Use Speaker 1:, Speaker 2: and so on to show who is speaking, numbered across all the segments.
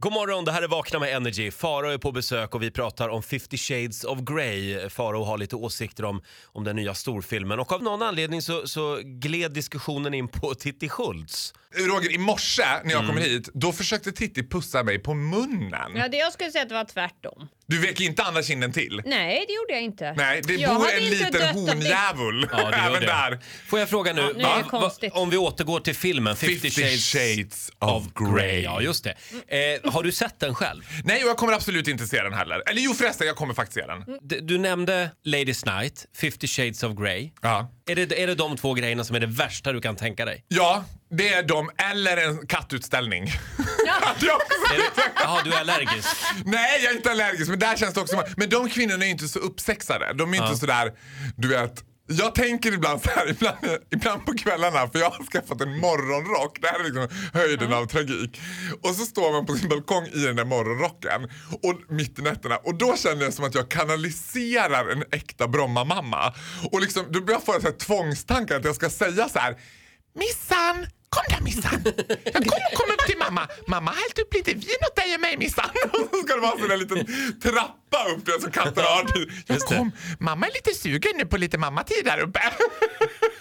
Speaker 1: God morgon, det här är Vakna med Energy. Faro är på besök och vi pratar om 50 shades of Grey. Faro har lite åsikter om, om den nya storfilmen och av någon anledning så, så gled diskussionen in på Titti Schultz.
Speaker 2: Roger, i morse när jag
Speaker 1: Mm.
Speaker 2: kom hit, då försökte Titti pussa mig på munnen.
Speaker 3: Ja, det jag skulle säga att det var tvärtom.
Speaker 2: Du vek inte andra kinden till.
Speaker 3: Nej, det gjorde jag inte.
Speaker 2: Nej, det
Speaker 3: jag
Speaker 2: bor
Speaker 3: hade
Speaker 2: en
Speaker 3: inte
Speaker 2: liten
Speaker 3: dött om det-
Speaker 2: hondjävul
Speaker 1: Ja, det gör
Speaker 2: även
Speaker 1: det.
Speaker 2: där.
Speaker 1: Får jag fråga nu,
Speaker 3: nu är det konstigt.
Speaker 1: om vi återgår till filmen 50, shades, of Grey. Ja, just det. Eh, har du sett den själv?
Speaker 2: Nej, och jag kommer absolut inte se den heller. Eller jo förresten, jag kommer faktiskt se den.
Speaker 3: Mm.
Speaker 1: D- Du nämnde Ladies Night, 50 shades of Grey.
Speaker 2: Ja.
Speaker 1: Är det, är det de två grejerna som är det värsta du kan tänka dig?
Speaker 2: ja, det är de eller en kattutställning. Ja.
Speaker 1: Jaha, du är allergisk.
Speaker 2: Nej, jag är inte allergisk, men där känns det också som att- Men de kvinnorna är inte så uppsexade. De är inte sådär, du vet. Jag tänker ibland så här, ibland, ibland på kvällarna, för jag har skaffat en morgonrock. Det här är liksom höjden av tragik. Och så står man på sin balkong i den där morgonrocken och mitt i nätterna. Och då känner jag som att jag kanaliserar en äkta Bromma-mamma. Och liksom, då börjar jag få så här tvångstankar att jag ska säga så här. Missan, kom där missan. Jag kom, kom upp till mamma. Mamma har hällt upp lite vin åt dig och mig missan. Och så ska det vara en sån där liten trappa upp där som katter har. Jag kom. Mamma är lite sugen nu på lite mammatid där uppe.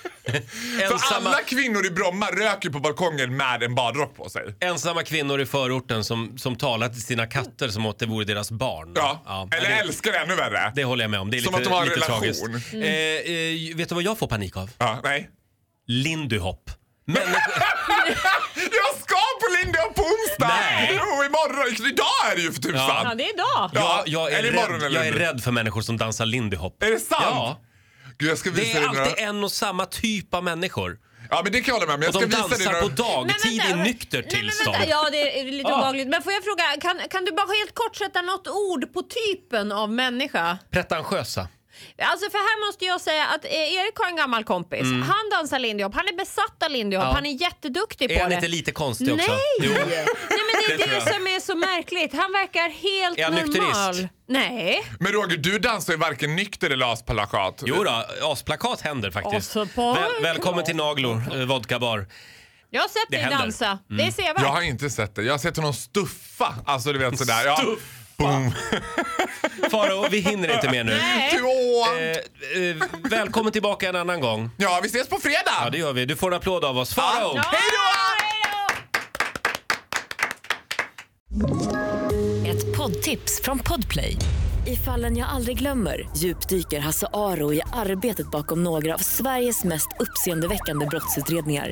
Speaker 2: Så
Speaker 1: Ensamma-
Speaker 2: alla kvinnor i Bromma röker på balkongen med en badrock på sig.
Speaker 1: Ensamma kvinnor i förorten som, som talar till sina katter som åt det vore deras barn.
Speaker 2: Ja, eller
Speaker 1: det,
Speaker 2: älskar det ännu värre.
Speaker 1: det håller jag med om. Det är
Speaker 2: Som
Speaker 1: lite,
Speaker 2: att de har en
Speaker 1: lite
Speaker 2: relation. Mm.
Speaker 1: tragiskt. Eh, eh, vet du vad jag får panik av?
Speaker 2: Ja, nej.
Speaker 1: Lindy Hop. Människor-
Speaker 2: Jag ska på Lindy och på onsdag!
Speaker 1: Nej.
Speaker 2: Jo, imorgon. Idag är det ju för tusan!
Speaker 3: Ja, det är idag.
Speaker 2: Ja,
Speaker 1: jag, jag, är
Speaker 2: eller imorgon
Speaker 1: rädd,
Speaker 2: eller
Speaker 1: jag är
Speaker 2: nu.
Speaker 1: rädd för människor som dansar Lindy Hop.
Speaker 2: Är det sant?
Speaker 1: Ja.
Speaker 2: Gud, jag ska visa
Speaker 1: Det
Speaker 2: dig
Speaker 1: är
Speaker 2: några...
Speaker 1: alltid en och samma typ av människor.
Speaker 2: Ja, men det kan jag hålla med om. Jag
Speaker 1: Och
Speaker 2: ska
Speaker 1: de
Speaker 2: visa dig
Speaker 1: dansar
Speaker 2: några...
Speaker 1: på dagtid i
Speaker 3: vänta.
Speaker 1: nykter
Speaker 3: Nej, men
Speaker 1: tillstånd.
Speaker 3: vänta. Ja, det är lite
Speaker 1: Ja.
Speaker 3: obehagligt. Men får jag fråga, kan, kan du bara helt kort sätta något ord på typen av människa?
Speaker 1: Pretentiösa.
Speaker 3: Alltså för här måste jag säga att eh, Erik har en gammal kompis. Han dansar lindy hop, han är besatt av lindy hop,
Speaker 1: Mm. Ja.
Speaker 3: han är jätteduktig
Speaker 1: Är
Speaker 3: på
Speaker 1: han
Speaker 3: det.
Speaker 1: inte lite konstig
Speaker 3: Nej!
Speaker 1: också?
Speaker 3: Nej men det
Speaker 1: Det
Speaker 3: är det,
Speaker 1: tror jag.
Speaker 3: som är så märkligt. Han verkar helt
Speaker 1: Är han
Speaker 3: normal.
Speaker 1: nykterist?
Speaker 3: Nej.
Speaker 2: Men Roger, du dansar ju varken nykter eller aspalakat.
Speaker 1: Jo då, asplakat händer faktiskt.
Speaker 3: Asplakat.
Speaker 1: Väl, välkommen till Naglor, eh, vodkabar.
Speaker 3: Jag har sett
Speaker 1: Det
Speaker 3: dig
Speaker 1: händer. Mm.
Speaker 3: dansa. Det är sevärt.
Speaker 2: Jag har inte sett det. Jag har sett honom stuffa. Alltså, du vet sådär. Ja.
Speaker 1: Stuffa.
Speaker 2: Boom.
Speaker 1: Farao, vi hinner inte mer nu.
Speaker 3: Nej.
Speaker 2: Två.
Speaker 1: Eh, eh, välkommen tillbaka en annan gång.
Speaker 2: Ja, vi ses på fredag!
Speaker 1: Ja, det gör vi. Du får en applåd av oss. Farao!
Speaker 3: Ja,
Speaker 2: Hej då!
Speaker 3: hej då!
Speaker 4: Ett poddtips från Podplay. I fallen jag aldrig glömmer djupdyker Hasse Aro i arbetet bakom några av Sveriges mest uppseendeväckande brottsutredningar.